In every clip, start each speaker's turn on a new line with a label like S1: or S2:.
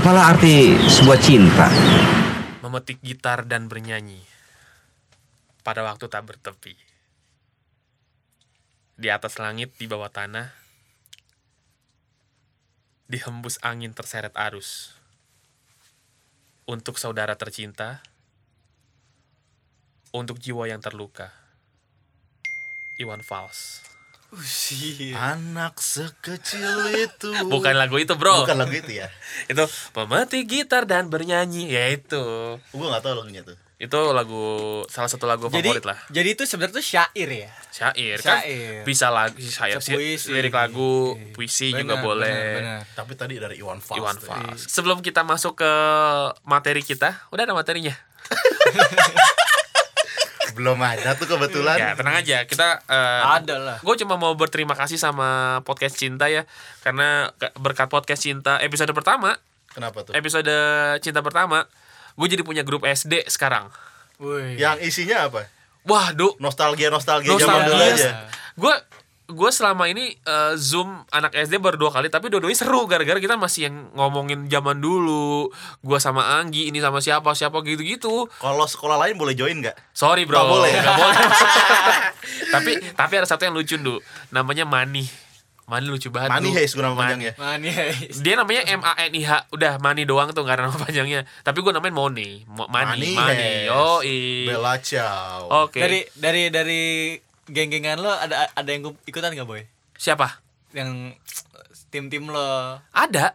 S1: Itulah arti sebuah cinta.
S2: memetik gitar dan bernyanyi pada waktu tak bertepi. Di atas langit, di bawah tanah, dihembus angin terseret arus. Untuk saudara tercinta, untuk jiwa yang terluka. Iwan Fals.
S3: Iya.
S4: Anak sekecil itu.
S2: Bukan lagu itu, bro.
S4: Bukan lagu itu ya.
S2: Itu pemetik gitar dan bernyanyi, yaitu.
S4: Gua nggak tahu lagunya tuh.
S2: Itu lagu salah satu lagu
S3: Jadi,
S2: favorit lah.
S3: jadi itu sebenarnya tuh syair ya.
S2: syair kan
S3: Syair.
S2: bisa lagu syair sih,
S3: Sepuisi.
S2: lirik lagu puisi juga
S3: Benar,
S2: boleh
S3: benar, benar.
S4: Tapi tadi dari Iwan Fals.
S2: Iwan
S4: tuh. ya.
S2: Fals sebelum kita masuk ke materi kita udah ada materinya
S4: Belum ada tuh kebetulan.
S2: ya tenang aja kita
S3: Ada lah.
S2: gue cuma mau berterima kasih sama podcast cinta ya karena ke- berkat podcast cinta episode pertama
S4: Kenapa tuh?
S2: episode cinta pertama gue jadi punya grup SD sekarang
S3: Woi.
S4: Yang isinya apa?
S2: wah duh
S4: Nostalgia nostalgia Iya, zaman dulu aja.
S2: nostalgia gue gue selama ini eh, zoom anak SD baru dua kali tapi dua-duanya seru gara-gara kita masih yang ngomongin zaman dulu gue sama Anggi ini sama siapa siapa gitu-gitu
S4: Kalau sekolah lain boleh join nggak?
S2: sorry bro
S4: Nggak boleh.
S2: Nggak boleh. tapi tapi ada satu yang lucu du namanya Mani Mani lucu banget
S4: Mani
S2: Du.
S4: Hayes gue nama
S2: Mani.
S4: panjangnya.
S3: Mani.
S2: dia namanya M A N I H udah Mani doang tuh nggak ada nama panjangnya tapi gue namain Moni Mo- Mani Oh, Mani,
S4: Hayes.
S2: yo
S4: Bella Ciao.
S2: oke
S3: Dari dari dari geng-gengan lo ada ada yang ikutan nggak boy?
S2: siapa
S3: Yang tim-tim lo.
S2: Ada.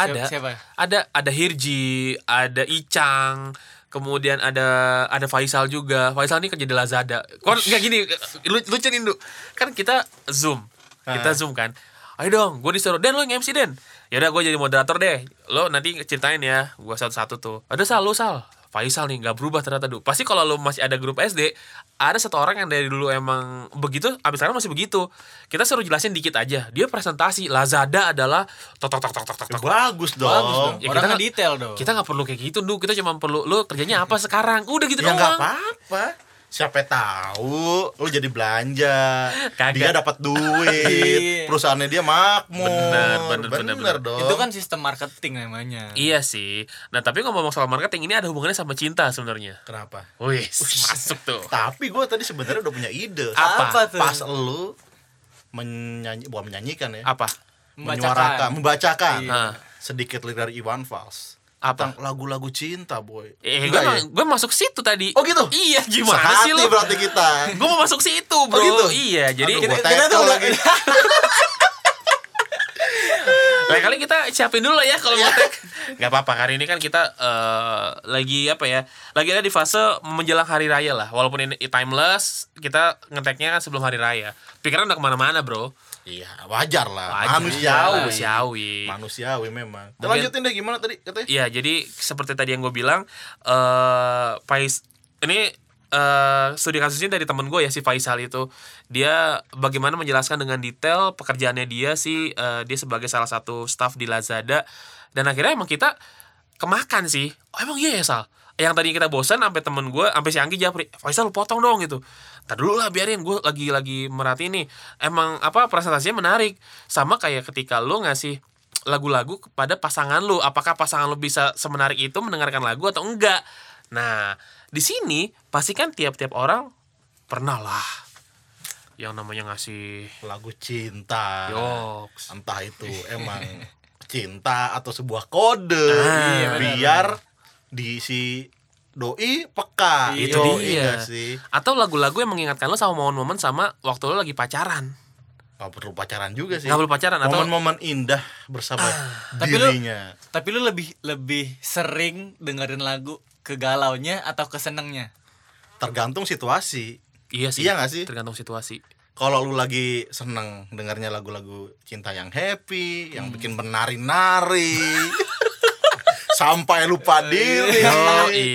S3: Siap-
S2: Ada.
S3: siapa?
S2: Ada ada Hirji, ada Icang, kemudian ada ada Faisal juga. Faisal ini kerja di Lazada. Kon enggak gini, lu- lucu nih, Du. Kan kita Zoom. Kita Zoom kan. Ayo dong, gue disuruh Dan lo yang MC Dan. Ya udah gue jadi moderator deh. Lo nanti ceritain ya, gue satu-satu tuh. Ada Sal, lo Sal. Faisal nih nggak berubah ternyata Du. Pasti kalau lo masih ada grup SD, ada satu orang yang dari dulu emang begitu, abis sekarang masih begitu. Kita suruh jelasin dikit aja. Dia presentasi Lazada adalah tok tok tok tok tok tok, tok.
S4: Nah, Bagus dong.
S3: Bagus dong.
S2: Ya,
S3: Orang
S2: kita-
S3: ngedetail dong.
S2: Kita nggak perlu kayak gitu, Du. Kita cuma perlu lo kerjanya apa sekarang. Udah gitu
S4: Ya nggak
S2: doang.
S4: apa-apa. Siapa tahu lu jadi belanja,
S2: Kagak.
S4: dia dapat duit,
S3: Iya.
S4: perusahaannya dia makmur.
S2: Bener, bener, bener, bener.
S4: dong.
S3: Itu kan sistem marketing namanya.
S2: Iya sih. Nah, tapi ngomong soal marketing ini ada hubungannya sama cinta sebenarnya.
S4: kenapa?
S2: Wih, masuk tuh.
S4: Tapi gue tadi sebenarnya udah punya ide.
S2: Apa?
S3: tuh?
S4: Pas lu menyanyi, bukan menyanyikan ya,
S2: Apa?
S4: menyuarakan, membacakan
S3: Iya.
S2: Nah,
S4: sedikit lirik dari Iwan Fals.
S2: Apa?
S4: Tentang lagu-lagu cinta, boy.
S2: eh, gue,
S4: Enggak ya?
S2: gue masuk situ tadi.
S4: Oh, gitu?
S2: Iya, gimana sih
S4: Sehati
S2: lo?
S4: berarti kita.
S2: Gue mau masuk situ, bro.
S4: gitu?
S2: Iya, jadi
S4: Aduh,
S2: kita,
S4: gua tekel lagi.
S2: lain kali kita siapin dulu lah ya kalau mau tag. Gak apa-apa, hari ini kan kita eh, lagi apa ya? Lagi ada di fase menjelang hari raya lah. Walaupun ini timeless, kita ngeteknya kan sebelum hari raya. Pikiran udah kemana-mana, bro.
S4: Iya, wajar lah.
S2: Wajar.
S4: Manusiawi.
S2: Manusiawi.
S4: Manusiawi memang. Dan
S2: Mungkin-
S4: lanjutin deh gimana tadi katanya?
S2: Iya, jadi seperti tadi yang gue bilang, eh Fais ini eh studi kasusnya dari temen gue ya si Faisal itu dia bagaimana menjelaskan dengan detail pekerjaannya dia sih eh, dia sebagai salah satu staff di Lazada dan akhirnya emang kita kemakan sih oh, emang iya ya Sal yang tadi kita bosan sampai temen gue sampai si Anggi japri Faisal lu potong dong gitu Ntar dulu lah biarin gue lagi lagi merhati nih emang apa presentasinya menarik sama kayak ketika lu ngasih lagu-lagu kepada pasangan lu apakah pasangan lu bisa semenarik itu mendengarkan lagu atau enggak nah di sini pastikan tiap-tiap orang pernah lah yang namanya ngasih
S4: Lagu cinta.
S2: yoks
S4: Entah itu emang cinta atau sebuah kode
S2: Ah,
S4: biar di si doi peka.
S2: itu
S3: Iya,
S4: Doi
S2: dia
S4: nggak sih.
S2: atau lagu-lagu yang mengingatkan lo sama momen-momen sama waktu lo lagi pacaran
S4: Gak perlu pacaran juga sih.
S2: nggak perlu pacaran atau Ah,
S4: Momen-momen indah bersama
S3: Tapi lu-
S4: dirinya.
S3: Tapi lu lebih lebih sering dengerin lagu ke galaunya atau ke senengnya?
S4: Tergantung situasi.
S2: iya sih
S4: Iya nggak sih?
S2: tergantung situasi
S4: Kalau lu lagi seneng dengarnya lagu-lagu cinta yang happy,
S2: Hmm.
S4: yang bikin menari-nari. sampai lupa diri.
S2: Iya.
S3: Iya.
S2: Yoi.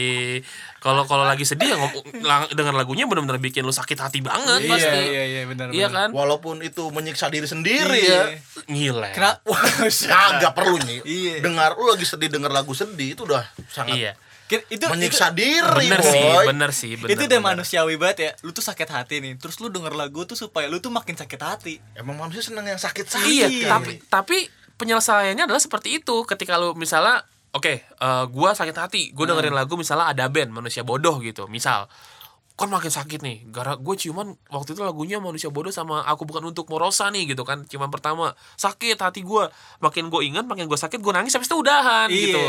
S2: kalau kalau lagi sedih ya ngom- lang- denger lagunya benar-benar bikin lo sakit hati banget pasti
S3: Iya, iya, benar.
S2: Iya
S3: benar.
S2: kan
S4: Walaupun itu menyiksa diri sendiri
S3: Iya.
S4: ya.
S2: Ngile.
S3: Kena-
S4: Kagak Nah, perlu nih.
S3: Nah, Iya.
S4: Dengar lu lagi sedih denger lagu sedih itu udah sangat
S2: Iya.
S3: Ki- itu
S4: menyiksa diri,
S2: Bener
S4: boy.
S2: sih, bener sih, bener.
S3: itu udah
S2: bener.
S3: manusiawi banget ya lu tuh sakit hati nih terus lu denger lagu tuh supaya lu tuh makin sakit hati
S4: Emang manusia seneng yang sakit-sakit.
S2: Iya,
S4: kan?
S2: tapi tapi penyelesaiannya adalah seperti itu. Ketika lu misalnya Oke, eh, gua sakit hati. Gua
S3: Hmm.
S2: dengerin lagu misalnya ada band manusia bodoh gitu. Misal, kan makin sakit nih. Gara gue ciuman waktu itu lagunya manusia bodoh sama aku bukan untuk Morosa nih gitu kan. Ciuman pertama sakit hati gua. Makin gue ingat, makin gue sakit, gue nangis habis itu udahan
S3: Iya.
S2: gitu.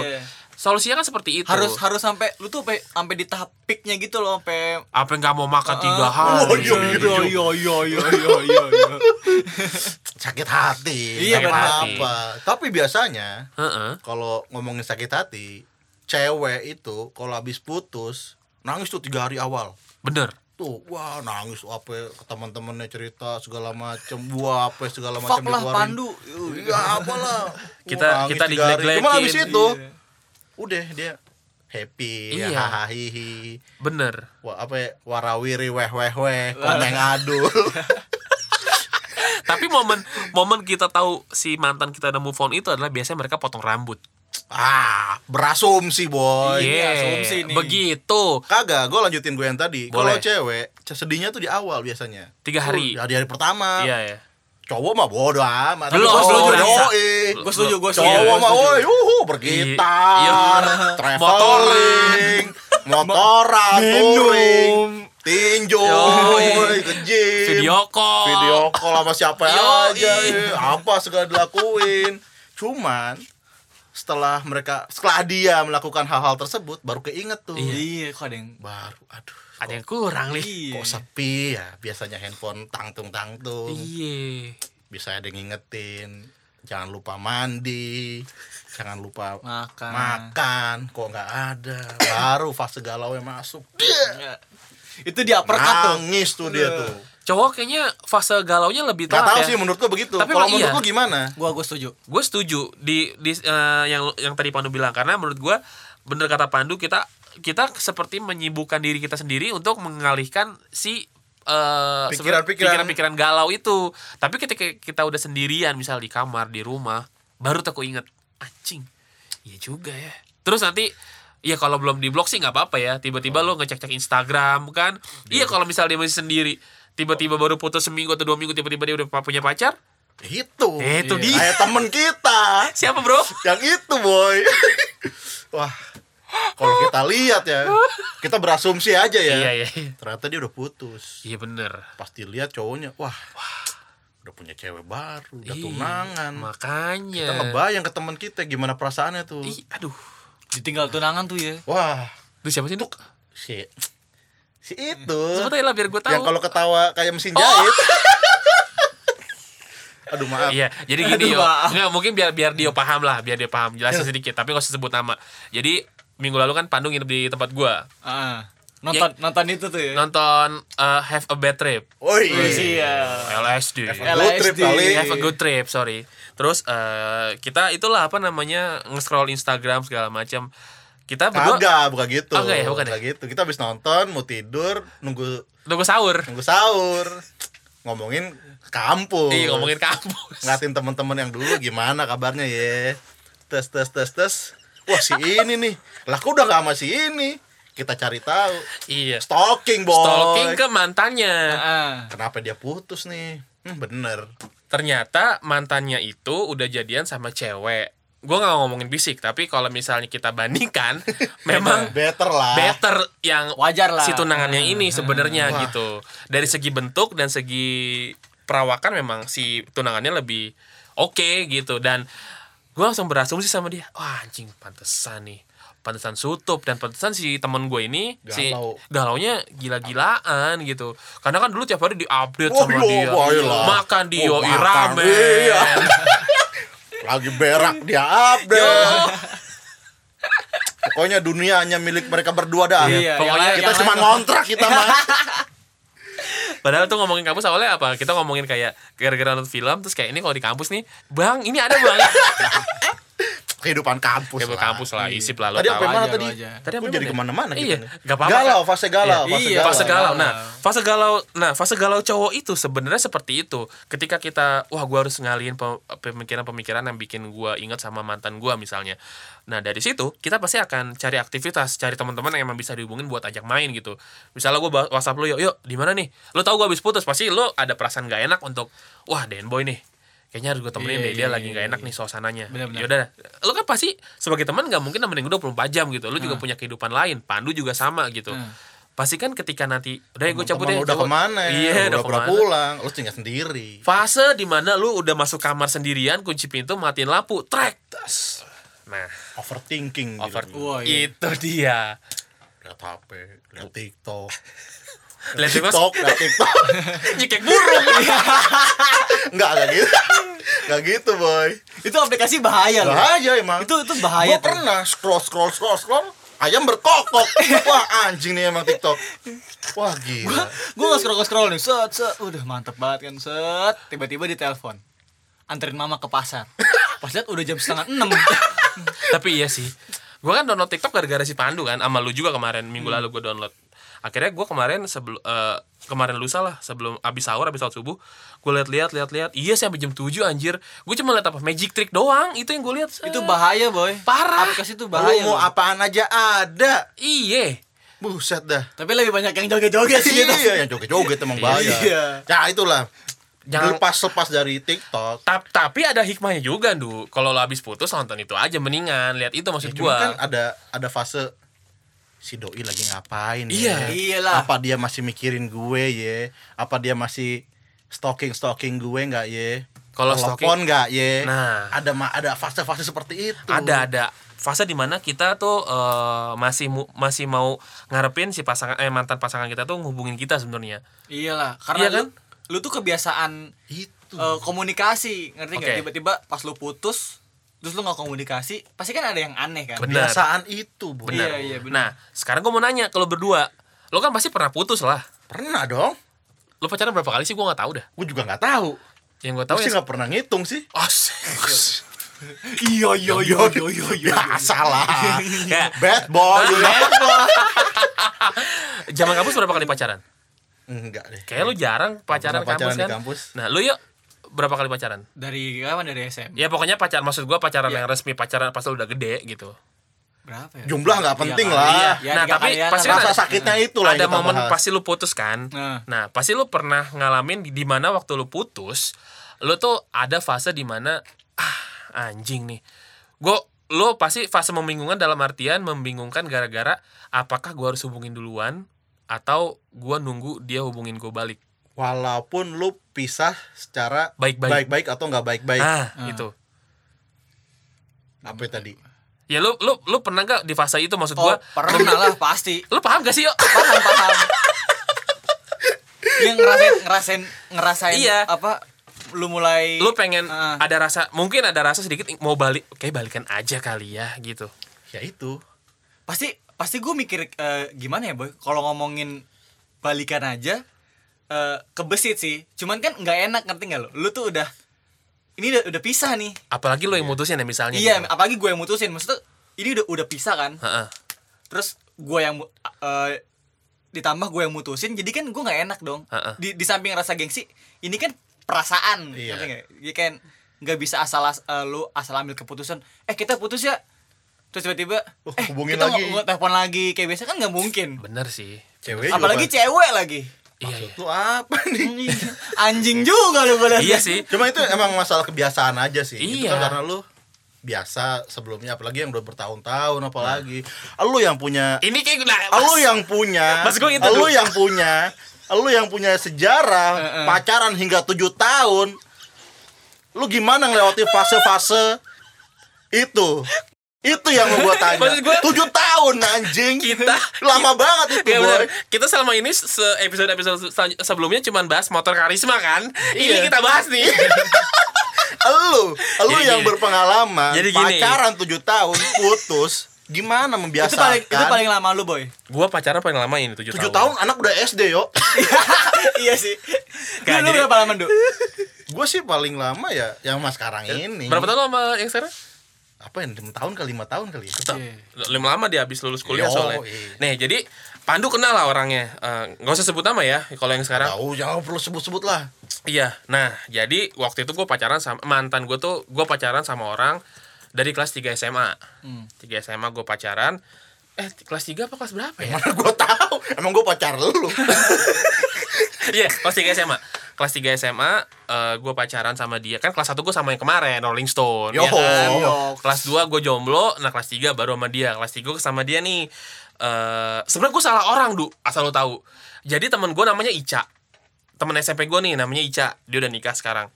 S2: Solusinya kan seperti itu.
S3: harus harus sampai lu tuh sampai sampai di tahap peaknya gitu loh sampai
S2: apa yang nggak mau makan tiga
S3: Ah,
S2: hari?
S4: Oh, iya,
S3: yo yo yo yo yo yo yo.
S4: sakit hati
S3: Iya,
S4: sakit
S2: benar.
S4: apa tapi biasanya
S2: Heeh.
S4: kalau ngomongin sakit hati cewek itu kalau habis putus nangis tuh tiga hari awal
S2: Bener.
S4: tuh wah nangis apa ya, ke teman-temannya cerita segala macem wah apa segala macam
S3: Fuck lah Pandu. Iya.
S4: ya apalah
S2: Kita-
S4: Wah, nangis
S2: kita
S4: tiga hari. cuma
S2: dijelek-jelekin.
S4: habis itu udah dia happy
S2: Iya.
S4: ya hahaha
S2: Bener.
S4: wah apa ya, warawiri weh weh weh koneng adul
S2: Tapi momen momen kita tahu si mantan kita udah move on itu adalah biasanya mereka potong rambut.
S4: ah berasumsi
S3: Iya.
S4: boy
S2: Yeah,
S3: asumsi nih.
S2: Begitu.
S4: Kagak, gue lanjutin gue yang tadi. Kalau
S2: Boleh.
S4: cewek, c- sedihnya tuh di awal biasanya.
S2: Tiga hari.
S4: Tuh, Di hari pertama.
S2: Iya ya.
S4: Cowok mah bodo
S2: Belum,
S4: amat. Tapi
S2: belum,
S4: cowok,
S2: belum.
S4: yoi.
S3: Gue setuju, gue setuju.
S4: Cowok
S3: gua
S4: mah
S3: setuju.
S4: woi, yuhu,
S2: Iya.
S4: bergitar, traveling, motoran,
S3: Minum.
S4: touring, tinju,
S2: Yoi.
S4: woi, ke gym,
S2: Video call.
S4: video call sama siapa
S2: Yoi.
S4: aja, iya. apa segala dilakuin. Cuman setelah mereka setelah dia melakukan hal-hal tersebut baru keinget tuh
S3: Iya, kok ada yang
S4: baru aduh
S2: Ada yang kurang nih.
S3: Iya.
S4: kok sepi ya biasanya handphone tangtung tangtung
S2: Iya.
S4: bisa ada yang ngingetin jangan lupa mandi jangan lupa
S3: Makan.
S4: makan kok nggak ada baru fase galau yang masuk
S2: Iya,
S4: dia
S3: Itu di uppercut tuh.
S4: nangis tuh dia tuh
S2: Cowok kayaknya fase galaunya lebih Iya.
S4: nggak
S2: telat
S4: tahu
S2: ya.
S4: sih menurut gua begitu
S2: Tapi
S4: kalau
S2: emang
S4: menurut
S2: iya.
S4: lu gimana
S3: Gua gua setuju.
S2: gue setuju di di eh, yang yang tadi Pandu bilang karena menurut gue bener kata Pandu kita kita seperti menyibukkan diri kita sendiri untuk mengalihkan si eh,
S4: Pikiran-pikiran.
S2: seperti- pikiran-pikiran galau itu tapi ketika kita udah sendirian misal di kamar di rumah baru tuh aku inget anjing iya juga ya terus nanti Ya kalau belum di blog sih nggak apa-apa ya. Tiba-tiba lo ngecek-cek Instagram kan. Iya kalau misal dia masih sendiri, tiba-tiba baru putus seminggu atau dua minggu tiba-tiba dia udah punya pacar.
S4: itu Iya.
S2: Itu dia.
S4: kayak temen kita
S2: Siapa bro?
S4: yang itu boy wah kalau kita lihat ya kita berasumsi aja ya
S2: Iya iya. iya.
S4: ternyata dia udah putus
S2: Iya bener.
S4: pas dilihat cowoknya wah, udah punya cewek baru udah
S2: Iya,
S4: tunangan
S2: Makanya.
S4: kita ngebayang ke teman kita gimana perasaannya tuh
S2: Iya. Ih, aduh.
S3: Ditinggal tunangan tuh ya.
S4: wah
S2: Itu siapa sih, Duk?
S4: si si itu
S2: Sebentar Hmm. lah biar gue tahu. Oh.
S4: yang kalau ketawa kayak mesin jahit aduh Iya. maaf
S2: Iya, jadi gini
S3: Aduh,
S2: yo.
S3: maaf.
S2: Enggak, mungkin biar biar dia paham lah, biar dia paham. Jelasin sedikit, tapi gak usah sebut nama. Jadi minggu lalu kan Pandu nginep di tempat gua
S3: Heeh. Ah. Nonton nonton itu tuh ya.
S2: nonton eh, Have a Bad Trip
S4: woi
S3: Iya.
S2: LSD.
S4: Have a good
S3: LSD.
S4: trip kali.
S2: Have a
S3: Ah.
S2: good trip, sorry. Terus eh, kita itulah apa namanya nge-scroll Instagram segala macam. Kita berdua
S4: Kagak, bukan gitu.
S2: Oh, enggak ya, bukan ya?
S4: Enggak gitu. Kita habis nonton, mau tidur, nunggu
S2: nunggu sahur.
S4: nunggu sahur. Ngomongin kampus.
S2: Iya, ngomongin kampus.
S4: ngatin teman-teman yang dulu gimana kabarnya ya tes tes tes tes wah si ini nih lah kok udah gak sama si ini kita cari tahu
S2: Iya.
S4: stalking boy
S2: Stalking ke mantannya.
S3: Heeh.
S4: kenapa dia putus nih hmm, bener
S2: ternyata mantannya itu udah jadian sama cewek gue nggak ngomongin fisik tapi kalau misalnya kita bandingkan memang
S4: better lah
S2: better yang
S3: Wajar lah.
S2: si tunangannya
S3: Hmm.
S2: ini sebenarnya
S4: Wah.
S2: gitu dari segi bentuk dan segi perawakan memang si tunangannya lebih oke gitu dan gue langsung berasumsi sama dia wah anjing pantesan nih pantesan sutup dan pantesan si temen gue ini si
S4: Galau.
S2: galaunya gila-gilaan gitu karena kan dulu tiap hari diupdate
S4: Wah,
S2: sama
S4: iya,
S2: dia
S4: wah, iyalah.
S2: makan di
S4: Oh,
S2: yoi
S4: makan,
S2: ramen
S4: iya. lagi berak dia
S2: Yo.
S4: update pokoknya dunia hanya milik mereka berdua dah
S3: Iya,
S2: pokoknya
S3: yang lain-
S4: kita
S3: yang
S4: cuma
S3: lain-
S4: ngontrak kita
S2: Iya.
S4: mah
S2: Padahal tuh ngomongin kampus awalnya apa? Kita ngomongin kayak gara-gara nonton film terus kayak ini kalau di kampus nih, Bang, ini ada Bang.
S4: kehidupan kampus
S2: ya
S4: lah.
S2: kampus lah, isip lah lo
S4: tadi apa
S2: tahu.
S4: yang mana
S3: Wajar,
S4: tadi
S3: wajar.
S2: Tadi apa
S4: Kok
S2: yang
S4: jadi
S2: mana?
S4: kemana-mana gitu
S2: Iya,
S4: nih?
S2: nggak apa-apa.
S4: galau fase galau
S3: Iya,
S4: fase
S3: iya,
S4: galau,
S2: fase galau. Nah,
S3: Galau.
S2: fase galau, nah fase galau cowok itu sebenarnya seperti itu. Ketika kita, wah gua harus ngalihin pe- pemikiran-pemikiran yang bikin gua ingat sama mantan gua misalnya. Nah dari situ kita pasti akan cari aktivitas, cari teman-teman yang emang bisa dihubungin buat ajak main gitu. Misalnya gua ba- WhatsApp lu, yuk, yuk, di mana nih? Lu tahu gua habis putus, pasti lu ada perasaan gak enak untuk, wah den boy nih. kayaknya harus gue temenin
S3: Iya,
S2: deh dia
S3: iya,
S2: lagi
S3: iya,
S2: nggak
S3: iya.
S2: enak nih suasananya
S3: Benar-benar.
S2: yaudah lo kan pasti sebagai teman nggak mungkin nemenin gue 24 jam gitu lo
S4: Ah.
S2: juga punya kehidupan lain Pandu juga sama gitu
S3: Hmm.
S2: pasti kan ketika nanti udah gue cabut deh
S4: Temen Ah. lu udah
S2: cabut."
S4: kemana ya?
S2: iya
S4: udah
S2: udah
S4: pernah
S2: kemana
S4: pulang lu tinggal sendiri
S2: fase dimana lu udah masuk kamar sendirian kunci pintu matiin lampu trek tas nah
S4: overthinking
S2: over
S4: gitu.
S3: Wah, iya.
S2: itu dia
S4: lihat HP lihat TikTok
S2: lihat itu
S4: TikTok lihat TikTok
S2: nyekek burung
S4: nggak nggak gitu nggak gitu boy
S3: Itu aplikasi bahaya loh.
S4: bahaya emang
S3: Itu itu bahaya.
S4: Gua pernah scroll scroll scroll scroll ayam berkokok wah anjing nih emang TikTok wah gila
S3: Gue nggak scroll scroll nih, set set, udah mantep banget kan, set. Tiba-tiba ditelepon, anterin mama ke pasar. Pas lihat udah jam setengah enam.
S2: tapi iya sih gue kan download TikTok gara-gara si Pandu kan sama lu juga kemarin minggu
S4: Hmm.
S2: lalu gue download akhirnya gue kemarin sebelum eh, kemarin lusa lah sebelum abis sahur abis sahur subuh gue liat-liat liat-liat iya sih sampai jam 7 anjir gue cuma liat apa magic trick doang itu yang gue liat
S3: itu bahaya boy.
S2: Parah.
S3: Aplikasi itu
S4: lu
S3: bahaya.
S4: mau
S3: loh.
S4: apaan aja ada
S2: iye
S4: buset dah
S3: Tapi lebih banyak yang joget-joget sih. gitu.
S4: iya yang joget-joget emang bahaya
S3: Iya.
S4: ya itulah
S2: Jangan-
S4: lepas lepas dari TikTok
S2: Ta- tapi ada hikmahnya juga, Du. Kalau lo habis putus nonton itu aja mendingan. Lihat itu maksud gua.
S4: Cuma kan ada ada fase si doi lagi ngapain
S2: Iya.
S4: ya?
S3: Iyalah.
S4: Apa dia masih mikirin gue ya? Apa dia masih stalking stalking gue nggak ya?
S2: Kalau stalking-
S4: Telepon nggak ya?
S2: Nah.
S4: Ada ma- ada fase-fase seperti itu.
S2: Ada ada fase dimana kita tuh eh, masih mu- masih mau ngarepin si pasangan eh mantan pasangan kita tuh ngehubungin kita sebenarnya.
S3: Iyalah, karena
S2: Iya kan?
S3: lu, lu tuh kebiasaan
S4: Itu.
S3: eh, komunikasi, ngerti nggak?
S2: Oke.
S3: Tiba-tiba pas lu putus, terus lu nggak komunikasi, pasti kan ada yang aneh kan?
S2: Bener.
S4: Kebiasaan itu, Bu.
S2: Benar.
S3: Iya, iya, benar.
S2: Nah, sekarang gua mau nanya kalau berdua, lo kan pasti pernah putus lah.
S4: Pernah dong.
S2: Lo pacaran berapa kali sih gua nggak tahu dah.
S4: Gue juga nggak tahu.
S2: Yang Oh, gua
S4: Gue
S2: tahu
S4: sih
S2: ya.
S4: nggak pernah ngitung sih.
S2: Asik.
S3: Iya iya iya iya iya.
S4: Ya, salah.
S2: Ya.
S4: Bad boy. you know.
S2: iya. Zaman kampus berapa kali pacaran?
S4: Enggak deh.
S2: Kayak lo jarang pacaran,
S4: pernah pacaran
S2: kampus
S4: di
S2: kan.
S4: kampus.
S2: Nah, lo yuk berapa kali pacaran?
S3: Dari kapan dari
S4: Iya.
S3: SMA?
S2: Ya pokoknya pacar maksud gua pacaran
S3: Iya.
S4: Ya.
S2: yang resmi, pacaran pas lo udah gede gitu.
S3: Berapa ya?
S4: Jumlah nggak penting
S3: kali,
S4: lah.
S3: iya.
S2: Nah,
S3: tiga
S2: tapi
S3: kalian
S2: pasti
S3: lah.
S4: Rasa sakitnya itulah
S2: ada
S4: yang kita
S2: momen
S4: bahas.
S2: pasti lu putus kan
S3: Nah.
S2: nah pasti lu pernah ngalamin di, di mana waktu lu putus lu tuh ada fase di mana ah anjing nih gua lu pasti fase membingungkan dalam artian membingungkan gara-gara apakah gua harus hubungin duluan atau gua nunggu dia hubungin gua balik
S4: Walaupun lu pisah secara
S2: Baik-baik.
S4: baik-baik atau nggak baik-baik.
S2: ah itu
S4: Apa tadi?
S2: ya lu lu lu pernah gak di fase itu maksud
S3: Oh,
S2: gua
S3: pernah lah pasti.
S2: lu paham gak sih yo
S3: Paham paham. Dia ngerasain ngerasain ngerasain
S2: Iya.
S3: apa? Lu mulai
S2: lu pengen
S3: Ah.
S2: ada rasa mungkin ada rasa sedikit mau balik kayak balikan aja kali ya gitu
S4: Ya itu.
S3: pasti pasti gue mikir eh, gimana ya boy kalau ngomongin balikan aja eh, kebesit sih cuman kan nggak enak ngerti nggak lo lu tuh udah ini udah, udah pisah nih
S2: apalagi lu yang mutusin ya misalnya
S3: iya
S2: gitu.
S3: apalagi gue yang mutusin maksudnya ini udah udah pisah kan
S2: Heeh.
S3: terus gue yang mu- eh, ditambah gue yang mutusin jadi kan gue nggak enak dong
S2: Heeh.
S3: di, di samping rasa gengsi ini kan perasaan
S4: Iya.
S3: ngerti nggak Dia kan nggak bisa asal lo asal ambil keputusan eh kita putus ya terus tiba-tiba
S4: Oh,
S3: eh
S4: hubungin
S3: kita
S4: lagi."
S3: nggak- nggak telepon lagi kayak biasa kan nggak mungkin
S2: bener sih
S4: Cewek
S3: apalagi cewek lagi
S2: iya
S4: Maksud
S2: iya.
S4: lu apa nih?
S3: anjing juga lu gue liat.
S2: iya sih
S4: Hmm, iya. Cuma itu emang masalah kebiasaan aja sih. Itu kan
S2: Iya.
S4: karena lu biasa sebelumnya apalagi yang udah bertahun-tahun apalagi lu yang punya
S2: ini kayak nah,
S4: lu yang punya
S2: Mas, gua gitu,
S4: lu
S2: Du.
S4: yang punya lu yang punya sejarah
S3: Heeh.
S4: pacaran hingga tujuh tahun lu gimana ngelewati fase-fase itu itu yang mau gua tanya
S2: Maksud gua-
S4: tujuh tahun anjing
S2: Kita-
S4: lama banget itu
S2: Ya
S4: boy.
S2: bener. Kita selama ini se episode episode sebelumnya cuman bahas motor karisma kan.
S4: Iya.
S2: Ini kita bahas nih.
S4: Elu, elu
S2: Jadi
S4: yang
S2: gini.
S4: berpengalaman,
S2: Jadi gini.
S4: pacaran 7 tahun, putus, gimana membiasakan?
S3: itu paling
S2: Kan?
S3: itu paling lama lu boy
S2: gua pacaran paling lama ini 7,
S4: 7 tahun anak udah SD yo.
S3: iya sih
S2: Nggak,
S3: lu, lu
S2: jadi-
S3: berapa lama du
S4: gue sih paling lama ya yang mas sekarang ini.
S2: Berapa tahun lo sama yang sekarang?
S4: Iya. Apa yang 6 tahun ke 5 tahun kali ya?
S2: Lima lama dia habis lulus kuliah
S4: Yo,
S2: soalnya.
S4: iya.
S2: Nih, jadi Pandu kenal lah orangnya. Eh, nggak usah sebut nama ya kalau yang sekarang.
S4: Tahu jangan perlu sebut-sebut lah.
S2: Iya, nah jadi waktu itu gue pacaran sama mantan gue tuh gue pacaran sama orang dari kelas 3 SMA.
S4: Hmm.
S2: 3 SMA gue pacaran. Eh kelas 3 apa kelas berapa ya?
S4: Mana gue tahu. Emang gue pacar lu.
S2: Iya, kelas 3 SMA. Kelas 3 SMA gue pacaran sama dia kan kelas 1 gue sama yang kemarin Rolling Stone
S4: Yo.
S2: ya kan?
S4: Yo.
S2: kelas 2 gue jomblo nah kelas 3 baru sama dia kelas 3 gue sama dia nih eh sebenarnya gue salah orang du asal lo tahu jadi teman gue namanya Ica temen SMP gue nih namanya Ica dia udah nikah sekarang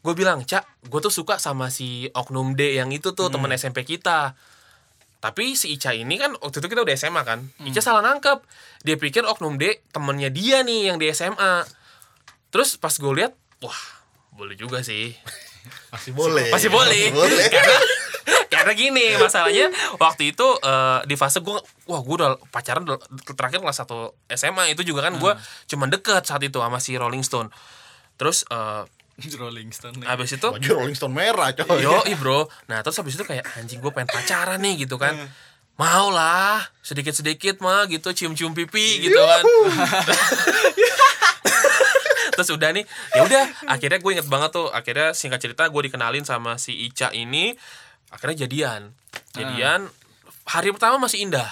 S2: gue bilang Cak gue tuh suka sama si oknum D yang itu tuh temen SMP kita tapi si Ica ini kan waktu itu kita udah SMA kan Ica salah nangkep dia pikir oknum D temennya dia nih yang di SMA terus pas gue lihat wah boleh juga sih
S4: Masih boleh.
S2: masih boleh, Iya.
S4: Iya. Boleh.
S2: karena karena gini masalahnya waktu itu eh, di fase gue wah gue udah pacaran udah- terakhir kelas satu SMA itu juga kan gue cuman deket saat itu sama si Rolling Stone terus eh,
S3: Rolling Stone. lagi.
S2: abis itu
S4: Baju Rolling Stone merah coy.
S2: yo bro nah terus habis itu kayak anjing gue pengen pacaran nih gitu kan mau lah sedikit sedikit mah gitu cium cium pipi gitu kan terus udah nih ya udah akhirnya gue inget banget tuh akhirnya singkat cerita gue dikenalin sama si Ica ini akhirnya jadian jadian hari pertama masih indah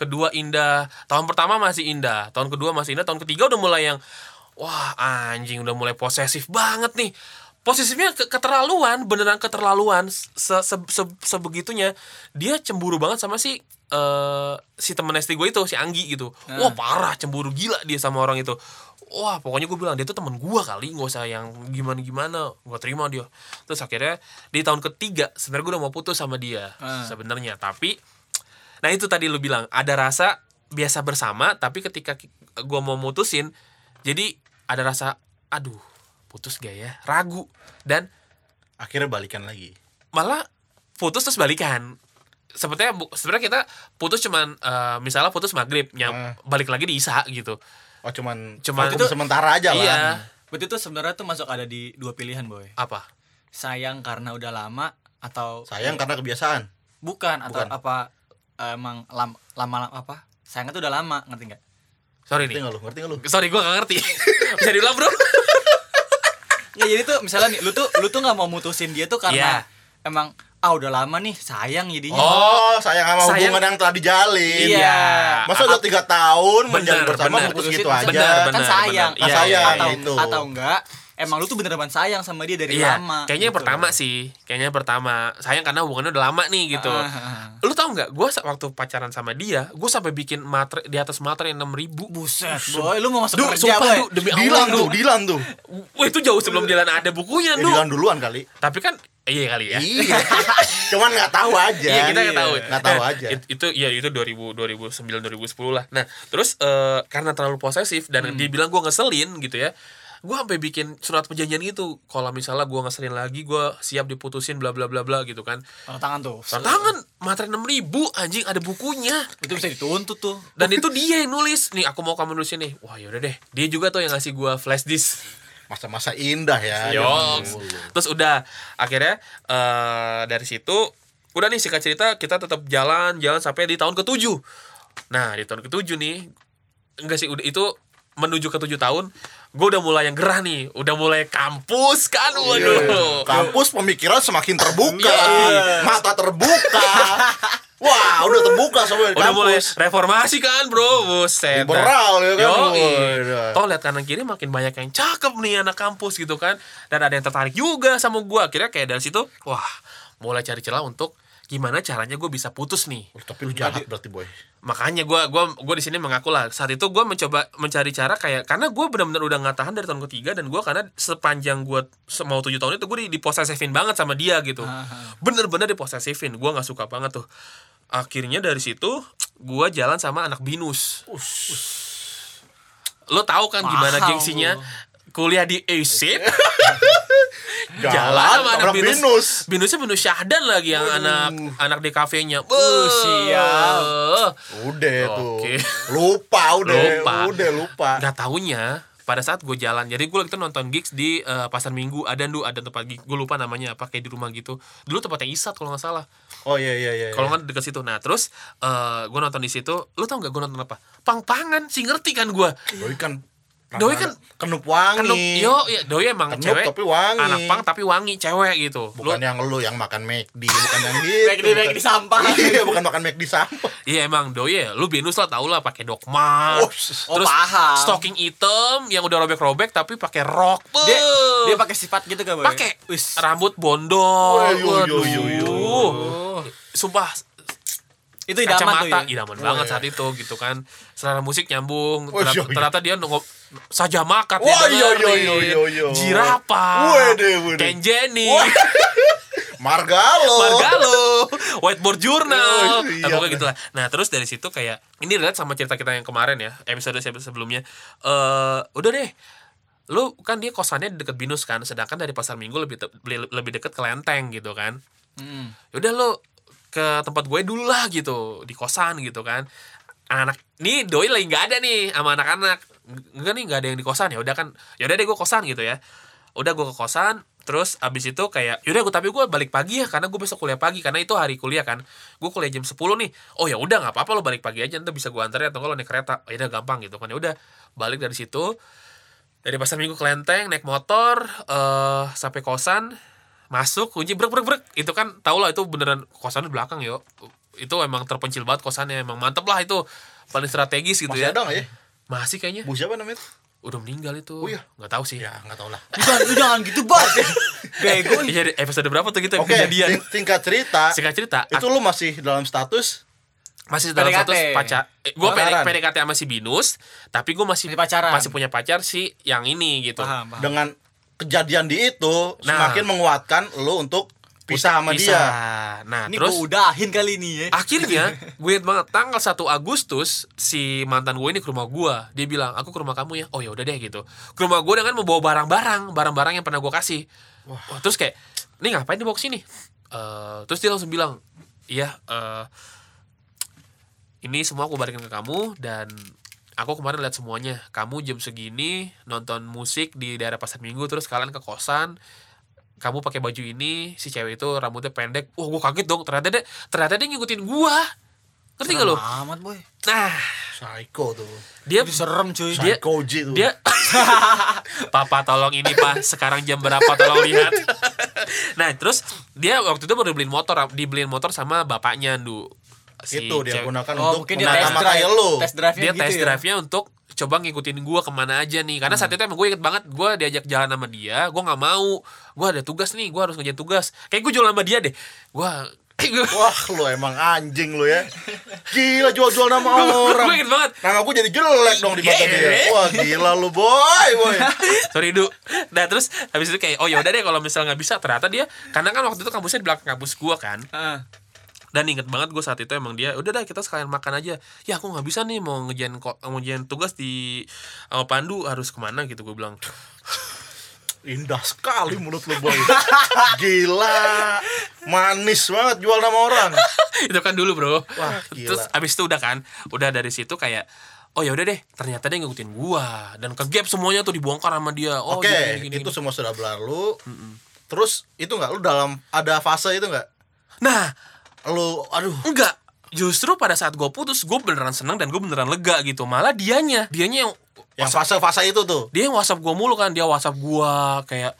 S2: kedua indah tahun pertama masih indah tahun kedua masih indah tahun ketiga udah mulai yang wah anjing udah mulai posesif banget nih posesifnya ke- keterlaluan beneran keterlaluan se se- se- sebegitunya dia cemburu banget sama si eh, si temen SD gue itu si Anggi gitu wah parah cemburu gila dia sama orang itu wah pokoknya gue bilang dia tuh temen gue kali nggak usah yang gimana gimana gue terima dia terus akhirnya di tahun ketiga sebenarnya gue udah mau putus sama dia
S3: Ah.
S2: sebenarnya tapi nah itu tadi lu bilang ada rasa biasa bersama tapi ketika ki- gua mau mutusin jadi ada rasa aduh putus gak ya ragu dan
S4: Akhirnya balikan lagi.
S2: malah putus terus balikan sepertinya bu- sebenarnya kita putus cuman eh, misalnya putus maghrib nyam-
S4: Ah.
S2: balik lagi di isa gitu
S4: Oh cuman
S2: Cuman-
S4: vakum sementara aja lah.
S2: iya
S3: Berarti tuh sebenarnya tuh masuk ada di dua pilihan, Boy.
S2: apa
S3: Sayang karena udah lama atau
S4: Sayang karena kebiasaan.
S3: bukan atau
S4: Bukan.
S3: apa emang lam- lama lama apa? Sayangnya tuh udah lama, ngerti nggak?
S2: sorry
S4: Ngerti
S2: nih
S4: nggak lu? Ngerti nggak lu?
S2: sorry gua gak ngerti bisa diulang bro
S3: Ya jadi tuh misalnya nih, lu tuh lu tuh nggak mau mutusin dia tuh karena
S2: Iya.
S3: emang ah udah lama nih, sayang jadinya.
S4: Oh, sayang sama
S2: sayang.
S4: hubungan yang telah dijalin.
S3: Iya.
S4: Masa udah tiga tahun menjalin
S2: Bener,
S4: bersama
S2: bener.
S4: putus
S3: Putusin,
S4: gitu aja.
S3: putusin.
S2: Bener, bener.
S3: kan sayang,
S2: bener.
S3: atau,
S4: Iya, iya,
S3: atau,
S4: iya, itu.
S3: atau enggak? Emang lu tuh beneran sayang sama dia dari
S2: Iya,
S3: lama.
S2: kayaknya yang
S3: gitu.
S2: pertama sih, kayaknya yang pertama. Sayang karena hubungannya udah lama nih gitu.
S3: Ah, ah, ah.
S2: Lu tau nggak? Gue waktu pacaran sama dia, gue sampai bikin matre di atas matre yang enam ribu.
S3: Buset, boy, lu mau masuk
S2: Duh,
S3: kerja,
S2: sumpah,
S3: Iya, boy.
S2: Duh, demi
S4: Dilan
S2: Allah,
S4: tuh,
S2: Duh.
S4: Dilan tuh.
S2: Wah itu jauh sebelum Dilan ada bukunya,
S4: Ya,
S2: Duh.
S4: Dilan duluan kali.
S2: Tapi kan, iya kali ya.
S4: Iya. Cuman nggak tahu aja.
S2: Iya kita nggak tahu.
S4: Nggak tahu
S2: Nah,
S4: aja.
S2: it- itu ya itu 2000 2009 2010 lah. Nah, terus eh, karena terlalu posesif dan
S3: Hmm.
S2: dia bilang gua ngeselin gitu ya. Gua sampai bikin surat perjanjian gitu. Kalau misalnya gua ngeselin lagi, gua siap diputusin bla bla bla bla gitu kan.
S3: Tanda tangan tuh.
S2: Tantangan materi 6000 anjing ada bukunya.
S3: Itu bisa dituntut tuh.
S2: Dan itu dia yang nulis. Nih aku mau kamu nulisin nih. Wah, yaudah deh. Dia juga tuh yang ngasih gua flash disk.
S4: Masa-masa indah ya.
S2: Yoks. Terus udah akhirnya eh dari situ udah nih singkat cerita kita tetap jalan jalan sampai di tahun ketujuh. Nah di tahun ketujuh nih enggak sih udah itu menuju ke tujuh tahun gue udah mulai yang gerah nih udah mulai kampus kan waduh
S4: Iya, Kampus pemikiran semakin terbuka,
S2: Iya.
S4: mata terbuka. Wah, udah terbuka semua di
S2: udah mulai
S4: kampus.
S2: reformasi kan bro buset
S4: Liberal ya kan?
S2: Yoi.
S4: Waduh.
S2: Toh lihat kanan kiri makin banyak yang cakep nih anak kampus gitu kan dan ada yang tertarik juga sama gua akhirnya kayak dari situ wah mulai cari celah untuk gimana caranya gue bisa putus nih
S4: Wah, Tapi lu jahat berarti boy.
S2: makanya gua gua gua di sini mengaku lah saat itu gua mencoba mencari cara kayak karena gua benar-benar udah nggak tahan dari tahun ketiga dan gua karena sepanjang gua se- mau tujuh tahun itu gue diposesifin banget sama dia gitu bener-bener diposesifin gua nggak suka banget tuh akhirnya dari situ gua jalan sama anak binus lo tahu kan gimana
S3: Mahal
S2: gengsinya
S3: lu.
S2: kuliah di ESIP
S4: Jalan sama anak binus.
S2: binusnya binus Syahdan lagi yang anak anak DKV-nya
S3: Uh, sial.
S4: Udah tuh.
S2: Oke.
S4: Lupa udah,
S2: Lupa.
S4: Eh, udah lupa.
S2: nggak taunya pada saat gue jalan jadi gue waktu itu nonton gigs di eh, pasar minggu ada ndu ada tempat gigs gue lupa namanya apa kayak di rumah gitu dulu tempatnya Isat kalau nggak salah
S4: Oh iya iya iya.
S2: kalau nggak dekat situ nah terus eh gue nonton di situ lu tau nggak gue nonton apa pang pangan sih ngerti kan gue
S4: Boy kan
S2: Doi kan
S4: kenup wangi.
S2: kan lu- yo ya, doi emang
S4: Kenup
S2: cewek
S4: tapi wangi.
S2: anak pang tapi wangi cewek gitu Lu-
S4: bukan yang lu yang makan McD, bukan yang gitu.
S3: Kayak di kayak di sampah.
S4: Iya, bukan makan McD sampah.
S2: Iya emang doi ya, lu binus lah tau lah pakai dogma.
S4: Oh,
S3: oh,
S2: terus
S3: paham.
S2: stocking hitam yang udah robek-robek tapi pakai rok.
S3: Dia dia
S2: Beuh.
S3: pakai sifat gitu gak, Boy?
S2: pakai
S3: Wis.
S2: rambut bondol.
S4: Wah, yo, yo, yo, yo.
S2: Waduh. Sumpah
S3: Itu idaman tuh.
S2: kacamata
S3: Ya?
S2: idaman banget
S4: iya.
S2: saat itu gitu kan. Selera musik nyambung.
S4: Oh,
S2: Ternyata,
S4: yo, yo.
S2: ternyata dia nongol saja makat ya,
S4: Wah, yo, yo, yo, yo, yo.
S2: Jirapa.
S4: Wede, wede.
S2: Ken Jenny.
S4: Wah. Margalo.
S2: Margalo, Whiteboard Journal, nah,
S4: Oh, iya.
S2: pokoknya gitu lah. Nah terus dari situ kayak ini relate sama cerita kita yang kemarin ya episode se- sebelumnya. Eh udah deh, lu kan dia kosannya di deket Binus kan, sedangkan dari pasar Minggu lebih te- le- lebih deket ke Lenteng gitu kan.
S3: Hmm.
S2: Yaudah lu ke tempat gue dulu lah gitu di kosan gitu kan. Anak nih doi lagi nggak ada nih sama anak-anak. Enggak nih nggak ada yang di kosan ya. Udah kan, yaudah deh gue kosan gitu ya. Udah gue ke kosan, terus abis itu kayak yaudah gue tapi gue balik pagi ya karena gue besok kuliah pagi karena itu hari kuliah kan gue kuliah jam 10 nih oh ya udah nggak apa-apa lo balik pagi aja nanti bisa gue anterin atau kalau naik kereta ya udah gampang gitu kan ya udah balik dari situ dari pasar minggu ke lenteng naik motor eh sampai kosan masuk kunci brek brek brek itu kan tau lah itu beneran kosan di belakang yo itu emang terpencil banget kosannya emang mantep lah itu paling strategis gitu
S4: Masih
S2: ya
S4: ada nggak ya?
S2: masih kayaknya
S4: Bu siapa namanya?
S2: udah meninggal itu
S4: Oh iya.
S2: nggak tahu sih
S4: Ya, nggak tau lah.
S3: Bukan, lu jangan gitu, Bang. Bego nih.
S2: Iya, di episode berapa tuh kita
S4: Oke,
S2: kejadian
S4: ting- tingkat cerita.
S2: singkat cerita ah,
S4: Itu lu masih dalam status
S2: masih dalam
S3: PDKT.
S2: status pacar eh, gue
S4: Pacaran.
S2: PDKT sama si Binus tapi gue masih
S3: Masih pacaran.
S2: masih punya pacar si yang ini gitu
S3: Paham, paham.
S4: dengan kejadian di itu
S2: Nah.
S4: semakin menguatkan lu untuk pisah sama
S2: Pisah.
S4: dia.
S2: nah
S3: Ini
S2: terus
S3: gua udahin kali ini ya.
S2: akhirnya gue inget banget tanggal 1 Agustus si mantan gue ini ke rumah gue dia bilang aku ke rumah kamu ya oh ya udah deh gitu ke rumah gue dengan membawa barang-barang barang-barang yang pernah gue kasih Wah. terus kayak ini ngapain dibawa ke sini Eh, terus dia langsung bilang iya eh, ini semua aku balikin ke kamu dan aku kemarin lihat semuanya kamu jam segini nonton musik di daerah pasar minggu terus kalian ke kosan kamu pakai baju ini si cewek itu rambutnya pendek wah gue kaget dong ternyata dia ternyata dia ngikutin gua ngerti gak lo
S3: Serem Amat, Boy.
S2: nah
S4: Psycho tuh.
S2: dia
S3: Itu serem, cuy.
S2: Dia-
S4: Psycho J tuh.
S2: dia papa tolong ini pak sekarang jam berapa tolong lihat nah terus dia waktu itu baru dibeliin motor dibeliin motor sama bapaknya du Si
S4: itu dia
S2: cewek-
S4: gunakan
S3: Oh,
S4: untuk
S3: mungkin dia
S4: menata
S3: test
S4: mata
S3: drive.
S4: lu.
S3: Test gitu ya? drive
S2: dia test drive-nya untuk coba ngikutin gua kemana aja nih karena saat itu emang gue inget banget gue diajak jalan sama dia gue nggak mau gue ada tugas nih gue harus ngerjain tugas kayak gue jual sama dia deh gue
S4: Wah, lu emang anjing lu ya. Gila jual-jual nama orang.
S2: gue inget banget
S4: Nama gue jadi jelek dong di mata
S2: Iya.
S4: dia. Wah, gila lu boy, boy.
S2: sorry du nah terus habis itu kayak oh ya udah deh kalau misalnya nggak bisa ternyata dia karena kan waktu itu kampusnya di belakang kampus gua kan
S3: Heeh.
S2: dan inget banget gue saat itu emang dia udah dah kita sekalian makan aja ya aku nggak bisa nih mau ngejain ko- mau ngejain tugas di sama Pandu harus kemana gitu gue bilang
S4: Indah sekali mulut lu boy. Gila. Manis banget jual nama orang.
S2: itu kan dulu bro
S4: Wah, gila.
S2: terus abis itu udah kan udah dari situ kayak oh ya udah deh ternyata dia ngikutin gua dan ke gap semuanya tuh dibongkar sama dia oh
S4: Oke,
S2: jadi gini,
S4: itu
S2: gini.
S4: semua sudah berlalu. Terus itu nggak lu dalam ada fase itu nggak?
S2: nah
S4: Lu aduh
S2: enggak justru pada saat gue putus gue beneran seneng dan gue beneran lega gitu malah dianya dianya yang
S4: yang fase-fase itu tuh.
S2: dia yang whatsapp gue mulu kan dia whatsapp gue kayak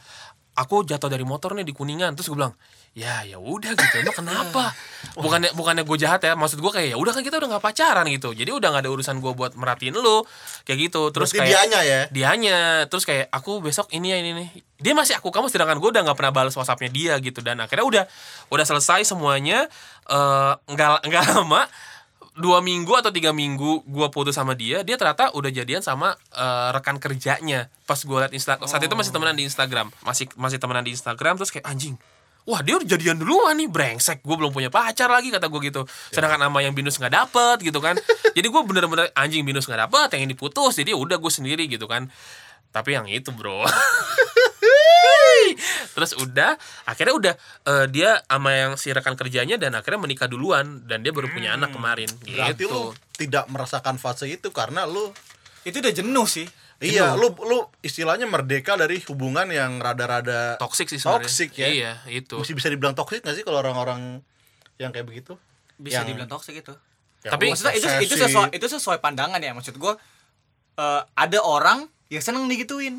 S2: aku jatuh dari motor nih di kuningan terus gue bilang ya ya udah gitu emang kenapa bukannya bukannya gue jahat ya maksud gue kayak ya udah kan kita udah nggak pacaran gitu jadi udah nggak ada urusan gue buat merhatiin lu kayak gitu terus
S4: Berarti
S2: kayak
S4: dianya ya.
S2: dianya terus kayak aku besok ini ya ini nih dia masih aku kamu sedangkan gue udah nggak pernah balas whatsappnya dia gitu dan akhirnya udah udah selesai semuanya Eh, nggak nggak lama dua minggu atau tiga minggu gue putus sama dia dia ternyata udah jadian sama eh, rekan kerjanya pas gue liat insta saat itu masih temenan di Instagram masih masih temenan di Instagram terus kayak anjing Wah dia udah jadian duluan nih brengsek Gue belum punya pacar lagi kata gue gitu
S4: Ya.
S2: Sedangkan sama yang binus gak dapet gitu kan Jadi gue bener-bener anjing binus gak dapet Yang ini diputus Jadi udah gue sendiri gitu kan Tapi yang itu bro Terus udah Akhirnya udah eh, Dia sama yang si rekan kerjanya Dan akhirnya menikah duluan Dan dia baru punya anak kemarin
S4: Hmm, Berarti lu
S2: Gitu
S4: tidak merasakan fase itu karena lu
S3: Itu udah jenuh sih.
S4: Iya, lu lu istilahnya merdeka dari hubungan yang rada-rada
S2: Toxic sih sebenarnya
S4: Toxic ya.
S2: Iya itu
S4: Masih bisa dibilang toksik gak sih kalau orang-orang yang kayak begitu?
S3: Bisa
S4: Yang-
S3: dibilang toksik itu.
S4: Ya,
S2: Tapi
S3: Iya,
S4: lu
S3: maksudnya itu itu
S4: posesif.
S3: sesuai itu sesuai pandangan ya maksud gua eh, ada orang ya seneng digituin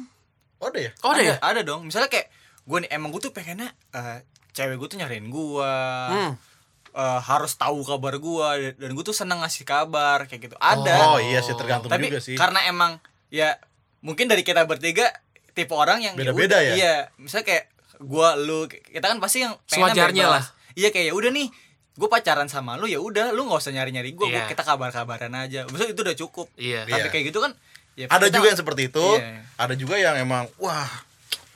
S4: Oh deh ya.
S2: Oh ada ya?
S3: ada, ada dong misalnya kayak gue nih emang gue tuh pengennya eh, cewek gue tuh nyariin gue
S2: Hmm.
S3: eh, harus tahu kabar gue dan gue tuh seneng ngasih kabar kayak gitu
S4: Oh
S3: ada
S4: iya sih tergantung
S3: tapi
S4: juga sih.
S3: karena emang ya mungkin dari kita bertiga tipe orang yang udah,
S4: Beda-beda ya?
S3: iya misalnya kayak gue lu kita kan pasti yang pengennya
S2: Sewajarnya
S3: bebas. iya kayak ya udah nih gue pacaran sama lu ya udah lu nggak usah nyari nyari gue
S2: Iya.
S3: kita kabar kabaran aja maksudnya itu udah cukup
S2: Iya.
S3: tapi
S4: Iya.
S3: kayak gitu kan ya
S4: ada
S3: kita-
S4: juga yang seperti itu.
S3: Iya.
S4: Ada juga yang emang wah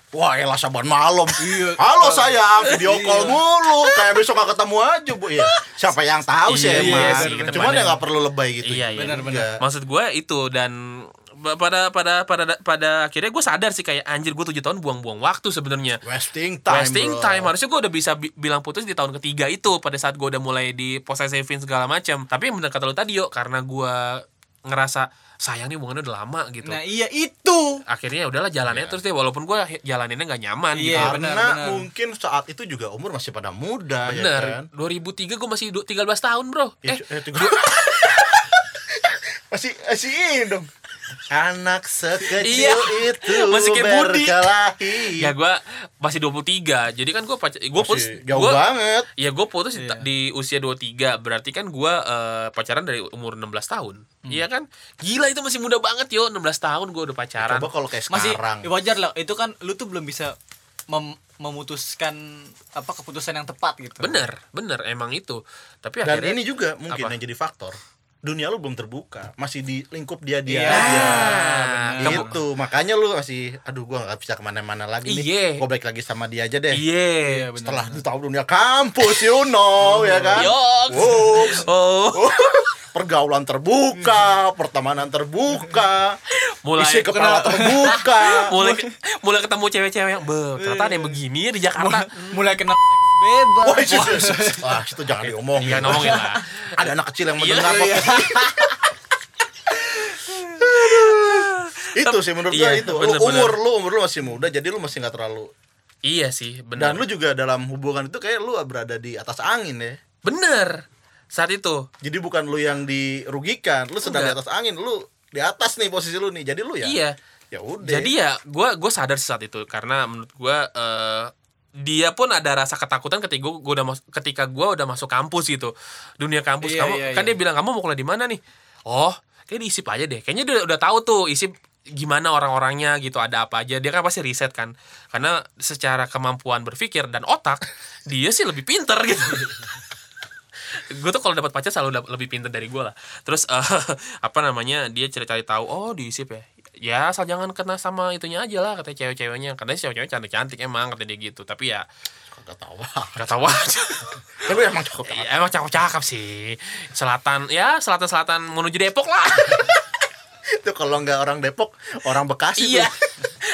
S4: Wah, elah saban malam.
S3: Iya.
S4: Halo sayang, video
S3: Iya.
S4: call mulu. Kayak besok gak ketemu aja, Bu. Iya. Siapa yang tahu sih
S2: Iya,
S4: emang.
S2: iya sih, ke
S4: Cuman
S2: depannya.
S4: ya gak perlu lebay gitu.
S2: Iya, iya.
S3: Benar-benar.
S4: Iya.
S2: Maksud gue itu dan ba- pada pada pada pada akhirnya gue sadar sih kayak anjir gue tujuh tahun buang-buang waktu sebenarnya.
S4: Wasting time.
S2: Wasting
S4: bro.
S2: time harusnya gue udah bisa bi- bilang putus di tahun ketiga itu pada saat gue udah mulai di proses saving segala macam. Tapi yang bener kata lu tadi yo karena gue ngerasa sayang nih hubungannya udah lama gitu.
S3: nah iya itu
S2: Akhirnya ya udahlah jalannya
S4: Iya.
S2: terus deh walaupun gue jalaninnya nggak nyaman
S3: Iya,
S2: gitu.
S4: Karena
S3: benar, benar.
S4: mungkin saat itu juga umur masih pada muda ya
S2: Bener.
S4: kan.
S2: 2003 gue masih du- 13 tahun bro.
S4: Ya,
S2: eh
S4: cu- eh, tiga- masih masih ini dong. Anak sekecil
S2: Iya.
S4: itu
S2: Masih kayak Budi.
S4: berkelahi.
S2: ya gue masih 23 jadi kan gue pacar gue
S4: iya. Masih
S2: putus
S4: jauh
S2: gua-
S4: banget.
S2: Ya gue putus di-
S3: Iya.
S2: di usia 23 Berarti kan gue pacaran dari umur 16 tahun
S3: Hmm.
S2: Iya kan Gila itu masih muda banget yo 16 tahun gue udah pacaran
S4: Ya, Coba kalau kayak
S3: masih
S4: sekarang.
S3: ya wajar lah itu kan lu tuh belum bisa mem- memutuskan apa keputusan yang tepat gitu
S2: Bener Bener emang itu Tapi
S4: Dan
S2: akhirnya
S4: ini juga
S2: Apa?
S4: mungkin yang jadi faktor. Dunia lu belum terbuka, masih di lingkup dia dia.
S3: Iya,
S2: bener.
S4: Itu makanya lu masih aduh gua nggak bisa kemana-mana lagi
S2: Iya.
S4: nih. Gua balik lagi sama dia aja
S2: Iya
S4: deh.
S3: Iya, bener.
S4: Setelah lu tahu dunia kampus, you know, ya kan?
S2: Yoks.
S4: Wops.
S2: Oh
S4: pergaulan terbuka, pertemanan terbuka,
S2: Mulai
S4: isi kepala
S2: kenal-
S4: terbuka.
S2: mulai, mulai ketemu cewek-cewek yang "Be, Ternyata ada yang
S4: Iya.
S2: begini ya di Jakarta
S3: mulai kena seks bebas
S4: Wah, itu, wah, itu jangan diomongin.
S2: Iya ngomongin lah
S4: Ada anak kecil yang
S2: Iya.
S4: mendengar
S2: Iya.
S4: podcast. itu sih menurut gua
S2: Iya,
S4: itu
S2: bener-bener.
S4: umur lu umur lu masih muda jadi lu masih nggak terlalu
S2: Iya sih bener
S4: dan lu juga dalam hubungan itu kayak lu berada di atas angin ya
S2: Bener Saat itu
S4: jadi bukan lu yang dirugikan lu sedang
S2: Enggak.
S4: di atas angin lu di atas nih posisi lu nih jadi lu ya
S2: Iya
S4: ya udah
S2: Jadi ya gue gue sadar sih saat itu karena menurut gue eh, dia pun ada rasa ketakutan ketika gue udah mas- ketika gua udah masuk kampus gitu dunia kampus
S3: Iya,
S2: kamu
S3: iya,
S2: kan
S3: iya.
S2: dia bilang kamu mau kuliah di mana nih oh kayak diisip aja deh kayaknya dia udah tahu tuh isip gimana orang-orangnya gitu ada apa aja dia kan pasti riset kan karena secara kemampuan berpikir dan otak dia sih lebih pinter gitu gue tuh kalau dapat pacar selalu dap- lebih pinter dari gue lah terus eh, apa namanya dia cari-cari tahu oh diisip ya ya asal jangan kena sama itunya aja lah katanya cewek-ceweknya katanya cewek-cewek cantik-cantik emang kata dia gitu tapi ya
S4: kagak tahu
S2: gak tahu aja
S4: Tapi emang cukup banget.
S2: Ya, emang cakep-cakep sih selatan ya selatan-selatan menuju Depok lah
S4: Itu kalau nggak orang Depok, orang Bekasi
S2: iya
S4: tuh.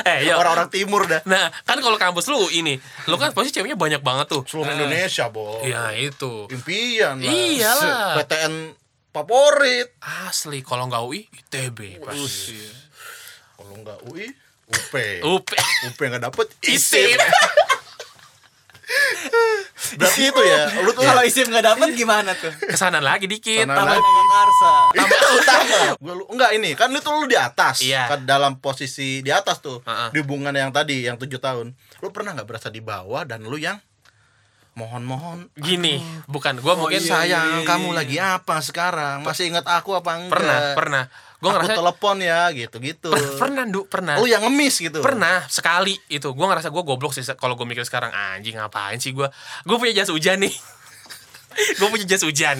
S2: eh yo.
S4: Orang-orang timur dah.
S2: nah kan kalau kampus lu ini lu kan pasti ceweknya banyak banget tuh
S4: Seluruh Indonesia, Bo.
S2: ya itu
S4: Impian lah.
S2: Iyalah.
S4: PTN favorit.
S2: asli kalau nggak UI ITB pasti
S4: iya. Kalau nggak UI, UP.
S2: UP
S4: UP nggak dapet,
S2: ISIP
S4: ISIP. Berarti itu ya, lu tuh
S2: Iya.
S3: kalau
S4: salah
S3: isim nggak dapet gimana tuh
S2: kesanan lagi dikit
S3: tambah
S4: Kesanan.
S3: karsa
S4: Itu utama. Iya, Gua lu enggak ini, kan lu tuh lu di atas.
S2: Iya.
S4: Kan dalam posisi di atas tuh.
S2: Heeh.
S4: Di hubungan yang tadi yang tujuh tahun. Lu pernah nggak berasa di bawah dan lu yang mohon-mohon "Iya,
S2: gini bukan gue mungkin
S4: Mungkin sayang kamu lagi apa sekarang? iya." Masih ingat aku apa enggak?
S2: pernah pernah gue
S4: Aku
S2: ngerasa
S4: telepon ya gitu-gitu.
S2: per- pernah Du, pernah
S4: Lu yang ngemis gitu.
S2: pernah sekali itu gue ngerasa gue goblok sih se- kalau gue mikir sekarang anjing ngapain sih gue gue punya jas hujan nih gue punya jas hujan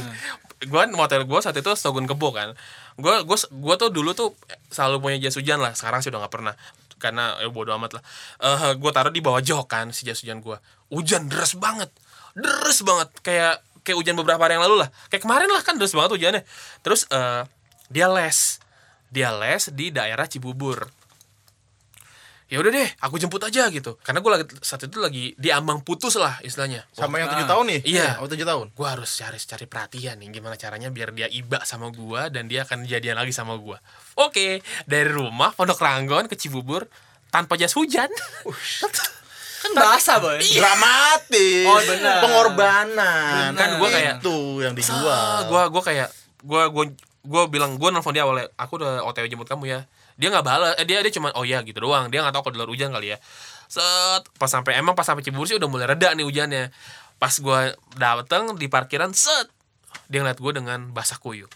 S2: gue motel gue saat itu Stogun Kebo kan gue gue gue tuh dulu tuh selalu punya jas hujan lah sekarang sih udah nggak pernah karena eh, bodo amat lah eh gue taruh di bawah jok kan si jas hujan gue hujan deras banget deras banget kayak kayak hujan beberapa hari yang lalu lah kayak kemarin lah kan deras banget hujannya terus eh dia les dia les di daerah Cibubur ya udah deh aku jemput aja gitu karena gue lagi saat itu lagi di ambang putus lah istilahnya
S4: Sama yang tujuh tahun nih?
S2: Iya.
S4: Oh, tujuh tahun.
S2: gue harus cari cari perhatian nih gimana caranya biar dia iba sama gua dan dia akan jadian lagi sama gua oke dari rumah pondok ranggon ke cibubur tanpa jas hujan
S3: kan berasa boy
S2: Iya.
S4: Iya. Dramatis.
S3: Oh, benar.
S4: Pengorbanan.
S3: Benar. Kan gua
S2: kayak-
S4: itu yang dijual.
S2: Ah, gua gua kayak gua gua gue bilang gue nelfon dia awalnya aku udah otw jemput kamu ya dia nggak balas eh, dia dia cuma oh ya gitu doang dia nggak tahu kalau di luar hujan kali ya set pas sampai emang pas sampai Cibubur sih udah mulai reda nih hujannya pas gue dateng di parkiran set dia ngeliat gue dengan basah kuyup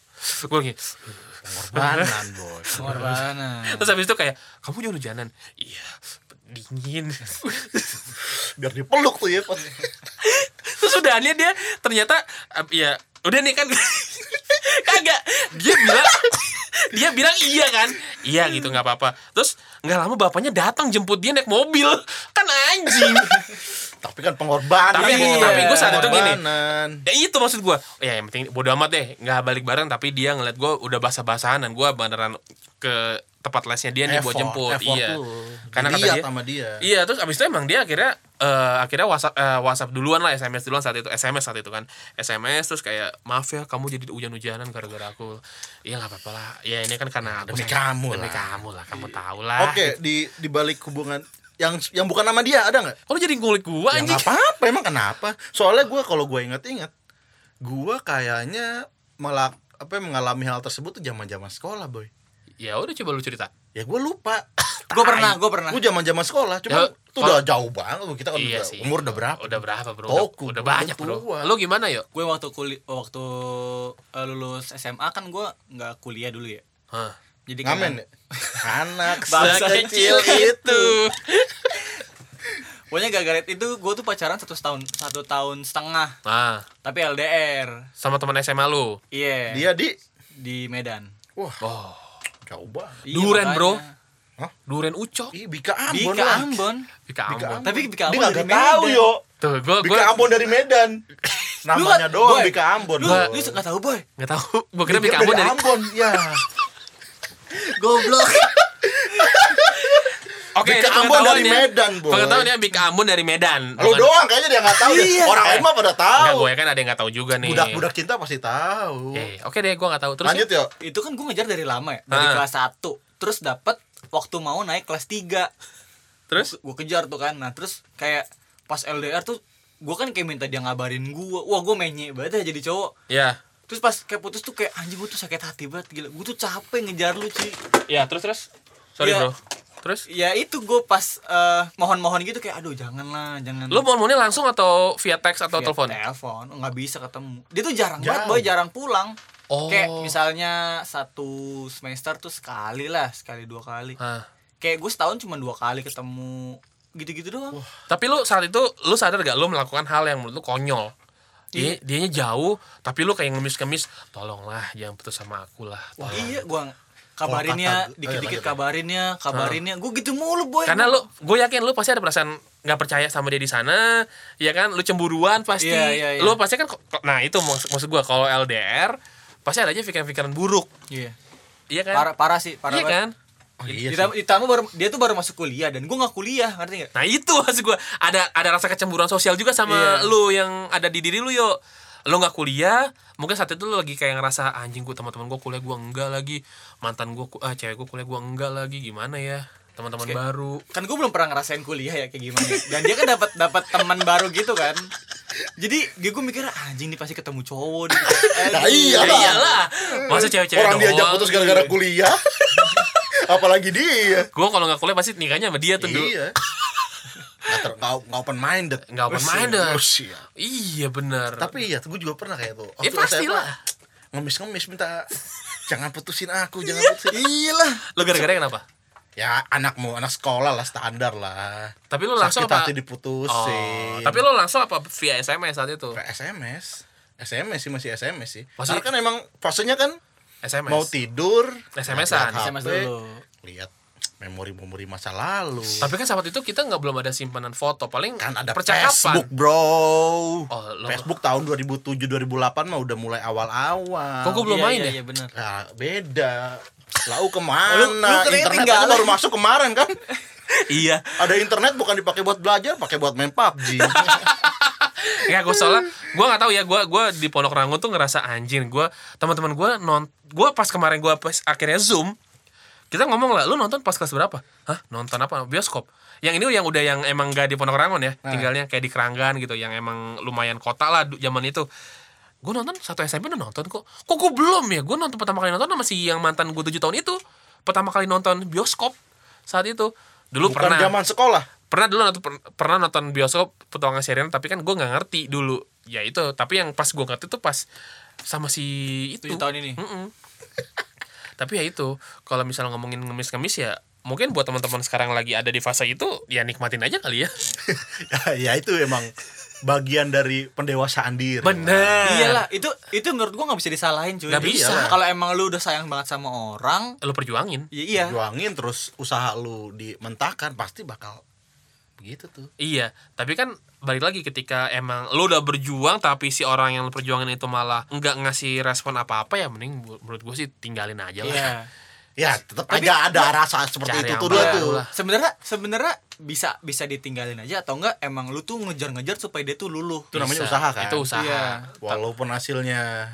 S2: gue lagi
S4: Pengorbanan, bos.
S3: Pengorbanan.
S2: terus habis itu kayak kamu jangan hujanan iya dingin
S4: Biar dipeluk tuh ya. Pas.
S2: terus udahannya dia ternyata eh, ya udah nih kan kagak dia bilang dia bilang iya kan iya gitu nggak apa-apa terus nggak lama bapaknya datang jemput dia naik mobil kan anjing
S4: Tapi kan pengorbanan.
S2: Tapi-
S4: Bos.
S2: tapi gua saat itu gini.
S4: Pengorbanan.
S2: ya itu maksud gua ya yang penting bodo amat deh nggak balik bareng tapi dia ngeliat gua udah basah-basahan dan gua beneran ke tempat lesnya dia nih buat
S4: Effort,
S2: jemput
S4: effort
S2: iya
S4: lu.
S2: karena kata
S4: Dilihat
S2: dia
S4: sama dia.
S2: Iya, terus abis itu emang dia akhirnya eh, akhirnya WhatsApp eh, WhatsApp duluan lah, SMS duluan saat itu, SMS saat itu kan, SMS terus kayak maaf ya kamu jadi hujan-hujanan gara-gara aku, iya nggak apa-apa lah, ya ini kan karena aku
S4: Demi
S2: sayang-
S4: kamu
S2: demi
S4: lah.
S2: kamu lah, kamu tahu lah.
S4: Oke, di di balik hubungan yang yang bukan nama dia ada nggak?
S2: Kok lu jadi ngulik gua
S4: Ya
S2: anjing?
S4: nggak apa-apa emang kenapa? Soalnya gua kalau gua inget-inget, gua kayaknya melak apa ya, mengalami hal tersebut tuh zaman-zaman sekolah, boy.
S2: Ya udah coba lu cerita.
S4: Ya gua lupa.
S3: Gue pernah, gue pernah.
S4: Gua zaman-zaman sekolah, cuma
S2: Ya,
S4: itu udah jauh banget loh, kita kan
S2: iya
S4: udah-
S2: sih.
S4: umur udah berapa?
S2: Udah berapa bro?
S4: Toku,
S2: udah, udah
S4: udah
S2: banyak bro.
S4: tua.
S2: Lu gimana yuk?
S3: Gue waktu kuli, waktu eh, lulus SMA kan gue nggak kuliah dulu ya.
S2: Hah.
S3: Jadi
S4: Ngamen ya?
S3: kayak-
S4: Anak
S3: Bangsa
S4: sekecil itu.
S3: Pokoknya gara-gara itu gue tuh pacaran satu tahun satu tahun setengah.
S2: Nah,
S3: Tapi LDR.
S2: sama teman SMA lu.
S3: Iya.
S4: Dia di
S3: Di Medan.
S4: wah,
S2: Oh,
S4: jauh banget.
S3: Iya,
S2: Duren, bro.
S3: makanya.
S2: Duren Ucok.
S4: Ih, Bika
S3: Di
S4: Kan Ambon
S3: ke
S4: lah.
S3: Ambon.
S2: Bika
S4: Bika
S2: Ambon.
S4: Ambon.
S3: Tapi Bika Ambon
S4: Dia nggak
S3: dari
S4: tahu,
S3: Medan.
S4: yo.
S2: Tuh, gua
S4: Bika
S2: gua
S4: Ambon dari Medan. Namanya
S3: Lu-
S4: doang
S3: Boy,
S4: Bika Ambon.
S3: Lu,
S4: Boy.
S3: lu suka tahu boy?
S2: nggak tahu. Gua kira
S4: Dia
S2: Bika Ambon dari
S4: Ambon, ya.
S3: Goblok.
S2: Oke,
S4: Bika
S2: ini
S4: Ambon
S2: pengetahuan
S4: dari
S2: ya.
S4: Medan, Boy.
S2: Pengetahuan ya Bika Ambon dari Medan.
S4: Lu
S2: Bukan-
S4: doang kayaknya dia nggak tahu deh.
S3: Iya.
S4: Orang lain mah pada
S2: Enggak,
S4: tahu.
S2: gue kan ada yang nggak tahu juga nih.
S4: Budak-budak cinta pasti tahu.
S2: Eh, oke deh, gue nggak tahu. Terus ya?
S4: Lanjut yuk.
S3: itu kan gue ngejar dari lama ya, dari
S2: Ah.
S3: kelas 1. Terus dapat waktu mau naik kelas 3.
S2: terus
S3: Gue kejar tuh kan. Nah, terus kayak pas LDR tuh gue kan kayak minta dia ngabarin gue. Wah, gue menye banget ya jadi cowok.
S2: ya.
S3: Terus pas kayak putus tuh kayak anjing gue tuh sakit hati banget gila. Gue tuh capek ngejar lu, Ci.
S2: Ya, terus terus. Sorry, Bro.
S3: Iya.
S2: Terus
S3: Ya itu gue pas eh, mohon-mohon gitu kayak aduh janganlah, jangan.
S2: lu mohon-mohonnya langsung atau via teks atau
S3: Via
S2: telepon?
S3: Iya, Telepon, nggak bisa ketemu. Dia tuh jarang
S4: Jauh.
S3: banget, boy, jarang pulang.
S2: Oh.
S3: Kayak misalnya satu semester tuh sekali lah, sekali dua kali.
S2: Hah.
S3: Kayak gue setahun cuma dua kali ketemu gitu-gitu doang.
S2: Tapi lu saat itu lu sadar gak lu melakukan hal yang menurut lu konyol? Dia,
S3: Iya.
S2: dianya jauh, tapi lu kayak ngemis-ngemis, tolonglah jangan putus sama aku lah. tolong."
S3: Iya, gua kabarinnya
S4: kata- ayo,
S3: dikit-dikit
S4: lanjut, lanjut.
S3: kabarinnya, kabarinnya. Gue gitu mulu,
S2: Eh,
S3: boy.
S2: iya, Karena lu, gue yakin lu pasti ada perasaan nggak percaya sama dia di sana, ya kan? Lu cemburuan pasti.
S3: Iya, iya, iya.
S2: Lu pasti kan, ko- ko- nah itu maksud, maksud gue kalau LDR pasti ada aja pikiran-pikiran buruk,
S3: Iya.
S2: iya kan?
S3: Parah parah sih, parah
S2: iya
S3: banget.
S2: kan?
S4: Oh, iya
S3: Ditambah, ditambah baru, dia tuh baru masuk kuliah dan gue nggak kuliah, ngerti nggak?
S2: Nah itu maksud gue ada ada rasa kecemburuan sosial juga sama
S3: Iya.
S2: lu yang ada di diri lu yo. Lu nggak kuliah, mungkin saat itu lu lagi kayak ngerasa anjing gue teman-teman gue kuliah gue enggak lagi, mantan gue ah, cewek gue kuliah gue enggak lagi, gimana ya teman-teman
S3: Oke.
S2: baru.
S3: Kan gue belum pernah ngerasain kuliah ya kayak gimana. Dan dia kan dapat dapat teman baru gitu kan. Jadi gue mikir "Ah, anjing nih pasti ketemu cowok nih. Eh,
S4: Nah,
S2: Ya
S4: iya lah. Hmm.
S2: iyalah, masa cewek-cewek
S4: Orang diajak
S2: doang?
S4: putus gara-gara kuliah. Apalagi dia.
S2: Gue kalau nggak kuliah pasti nikahnya sama dia tuh. Du.
S4: Iya. Nggak ter- nggak- nggak open minded.
S2: Nggak open-minded.
S4: Usia.
S2: Iya benar.
S4: Oh, Tapi iya, gue juga pernah kayak tuh.
S2: Ya,
S4: Waktu
S2: pastilah.
S4: SMA, Ngemis-ngemis minta jangan putusin aku, jangan putusin.
S3: Iya lah.
S2: Lu gara-gara kenapa?
S4: Ya anakmu, anak sekolah lah standar lah.
S2: Tapi lu langsung
S4: Sakit
S2: apa?
S4: hati
S2: Oh,
S4: diputusin.
S2: tapi lu langsung apa via SMS saat itu?
S4: Ke SMS. SMS sih masih SMS sih.
S2: Masih-
S4: Karena kan emang fasenya kan
S2: SMS.
S4: mau tidur,
S2: SMS-an.
S4: lihat
S3: SMS
S4: HP,
S3: dulu.
S4: Lihat memori-memori masa lalu.
S2: Tapi kan saat itu kita nggak belum ada simpanan foto, paling
S4: Iya. kan ada
S2: percakapan.
S4: Facebook, Bro.
S2: Oh, lo-
S4: Facebook tahun 2007 2008 mah udah mulai awal-awal.
S2: Kok gua belum
S3: Iya,
S2: main
S3: iya,
S2: ya?
S3: Iya benar.
S4: Nah, beda. Lau kemana?
S3: Lu- lu kira
S4: internet
S3: tinggalan.
S4: aja baru masuk kemarin kan?
S2: Iya.
S4: Ada internet bukan dipakai buat belajar, pakai buat main PUBG.
S2: Nggak gue Iya, soalnya, gue nggak tahu ya gue gue di Pondok Rangon tuh ngerasa anjir gue teman-teman gue non gue pas kemarin gue pas akhirnya zoom kita ngomong lah lu nonton pas kelas berapa hah nonton apa bioskop yang ini yang udah yang
S4: Nah.
S2: emang gak di Pondok Rangon ya tinggalnya kayak di Keranggan gitu yang emang lumayan kota lah du- zaman itu gue nonton satu SMP udah nonton kok kok gue belum ya gue nonton pertama kali nonton sama si yang mantan gue tujuh tahun itu pertama kali nonton bioskop saat itu dulu
S4: Bukan
S2: pernah
S4: zaman sekolah.
S2: pernah dulu nonton, per- pernah nonton bioskop petualangan Sherina tapi kan gue nggak ngerti dulu ya itu tapi yang pas gue ngerti tuh pas sama si itu
S3: Tujuh tahun
S4: Hmm.
S3: ini.
S2: Mm-mm. tapi ya itu kalau misalnya ngomongin ngemis-ngemis ya mungkin buat teman-teman sekarang lagi ada di fase itu ya nikmatin aja kali ya
S4: ya itu emang bagian dari pendewasaan diri.
S2: bener
S3: Iyalah, itu itu menurut gua nggak bisa disalahin cuy.
S2: Nggak bisa.
S3: Iyalah. Kalau emang lu udah sayang banget sama orang,
S2: lo perjuangin
S3: ya iya.
S4: Juangin terus usaha lu dimentahkan pasti bakal begitu tuh.
S2: Iya, tapi kan balik lagi ketika emang lo udah berjuang tapi si orang yang lo perjuangin itu malah nggak ngasih respon apa-apa ya mending bu- menurut gue sih tinggalin aja lah.
S3: Iya.
S4: Ya tetap
S3: Tapi-
S4: aja ada rasa seperti
S2: Cari
S4: itu
S2: aman
S4: tuh dulu
S2: dulu
S4: tuh.
S2: lah.
S3: Sebenarnya sebenarnya bisa bisa ditinggalin aja atau enggak emang lu tuh ngejar-ngejar supaya dia tuh luluh.
S4: Itu namanya
S2: Bisa.
S4: usaha kan.
S2: Itu usaha.
S3: Iya.
S4: Walaupun hasilnya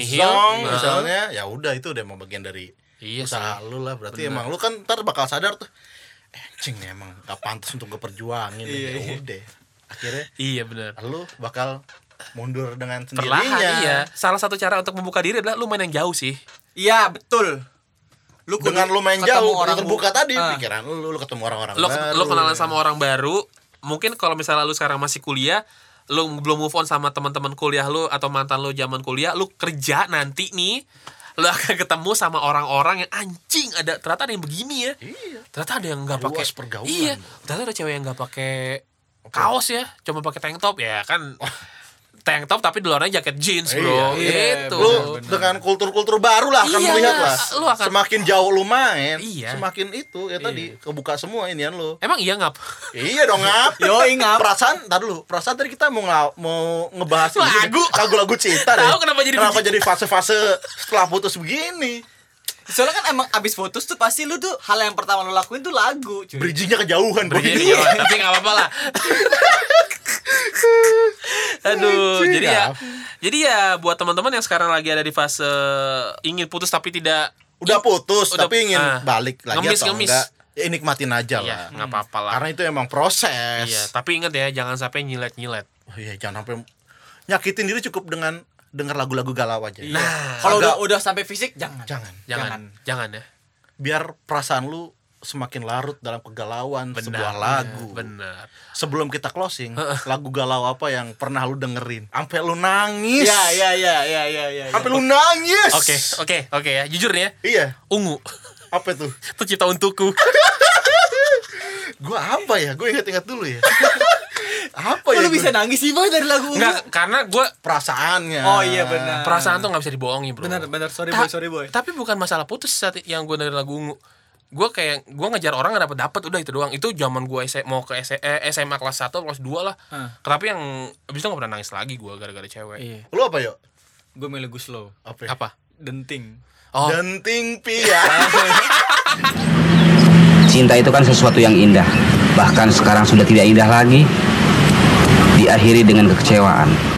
S2: Nihil,
S4: zong
S2: nah.
S4: misalnya, ya udah itu udah emang bagian dari
S2: Iya
S4: usaha lu lah. Berarti emang lu kan ntar bakal sadar tuh. Eh, cing emang gak pantas untuk gue perjuangin.
S3: Iya,
S4: ya
S3: iya.
S4: udah. Akhirnya
S2: Iya benar.
S4: lu bakal mundur dengan sendirinya.
S2: Perlahan iya. Salah satu cara untuk membuka diri adalah lu main yang jauh sih.
S3: Iya, betul. Lu kudu
S4: Dengan lu main
S3: ketemu
S4: jauh, orang
S3: bu-
S4: terbuka tadi
S3: Ah.
S4: pikiran lu, lu ketemu orang-orang
S2: Lo
S4: baru.
S2: lo kenalan sama orang baru, mungkin kalau misalnya lu sekarang masih kuliah, lu belum move on sama teman-teman kuliah lu atau mantan lu zaman kuliah, lu kerja nanti nih lu akan ketemu sama orang-orang yang anjing ada ternyata ada yang begini ya.
S4: Iya.
S2: ternyata ada yang nggak
S4: Luas
S2: pakai
S4: pergaulan.
S2: iya ternyata ada cewek yang nggak pakai kaos ya cuma pakai tank top ya kan tank top tapi di luarnya jaket jeans bro
S3: Iya, iya,
S2: gitu
S4: Lu
S3: Benar-benar.
S4: dengan kultur-kultur baru lah akan
S2: Iya,
S4: melihat lah.
S2: lu akan-
S4: Semakin jauh lu main,
S2: Iya.
S4: semakin itu ya tadi kebuka semua inian lu.
S2: emang iya ngap
S4: Iya dong ngap.
S3: Yo, ingat.
S4: Perasaan, ntar dulu. Perasaan tadi kita mau ngel- mau ngebahas ini.
S2: Lagu.
S4: lagu-lagu cinta deh.
S2: Tahu kenapa jadi
S4: kenapa
S2: begini?
S4: jadi fase-fase setelah putus begini?
S3: Soalnya kan emang abis putus tuh pasti lu tuh hal yang pertama lu lakuin tuh lagu, cuy.
S4: Bridgingnya kejauhan. Boy.
S2: Iya, iya, tapi nggak apa-apa lah aduh
S4: Anjing,
S2: jadi ya
S4: ngap.
S2: jadi ya buat teman-teman yang sekarang lagi ada di fase ingin putus tapi tidak
S4: Udah putus,
S2: Udah-
S4: tapi ingin
S2: ah.
S4: balik lagi
S2: Ngemis,
S4: atau
S2: ngemis.
S4: enggak? Ya nikmatin aja lah.
S2: ya nggak apa-apa lah
S4: Karena itu emang proses.
S2: iya tapi ingat ya jangan sampai nyilet-nyilet
S4: Oh iya, jangan sampai nyakitin diri cukup dengan dengar lagu-lagu galau aja.
S3: Iya.
S2: Nah,
S3: Kalau
S4: Agak-
S3: udah udah sampai fisik jangan.
S4: Jangan.
S2: jangan jangan, ya
S4: Biar perasaan lu semakin larut dalam kegalauan sebuah lagu.
S2: Iya, benar
S4: Sebelum kita closing, lagu galau apa yang pernah lu dengerin? Sampai lu nangis.
S3: Ya, ya, ya, ya, ya, ya. ya.
S4: Sampai lu nangis.
S2: Oke, oke, oke ya. Jujur nih ya.
S4: Iya,
S2: Ungu.
S4: apa itu?
S2: Tercipta untukku.
S4: Gua apa ya? Gue ingat-ingat dulu ya. apa
S3: Kok
S4: ya?
S3: lu bisa
S4: gua-
S3: nangis sih Boy, dari lagu Ungu?
S2: Enggak, karena gue
S4: perasaannya.
S3: Oh iya benar.
S2: perasaan tuh nggak bisa dibohongi, bro.
S3: Benar, benar. Sorry
S2: Ta-
S3: boy, sorry boy.
S2: Tapi bukan masalah putus saat yang gue dengerin lagu ungu. Gue kayak gue ngejar orang nggak dapet dapet udah itu doang. Itu zaman gue mau ke S- eh, SMA kelas 1 kelas 2 lah.
S3: Hah.
S2: Tapi yang abis itu nggak pernah nangis lagi gue gara-gara cewek.
S3: Ah. Iya.
S4: Lu apa, yuk?
S3: Gue milih Gus Lo.
S4: Apa? ya?
S2: Apa?
S3: Denting.
S2: Oh,
S4: Denting pia.
S1: Cinta itu kan sesuatu yang indah. Bahkan sekarang sudah tidak indah lagi. Diakhiri dengan kekecewaan.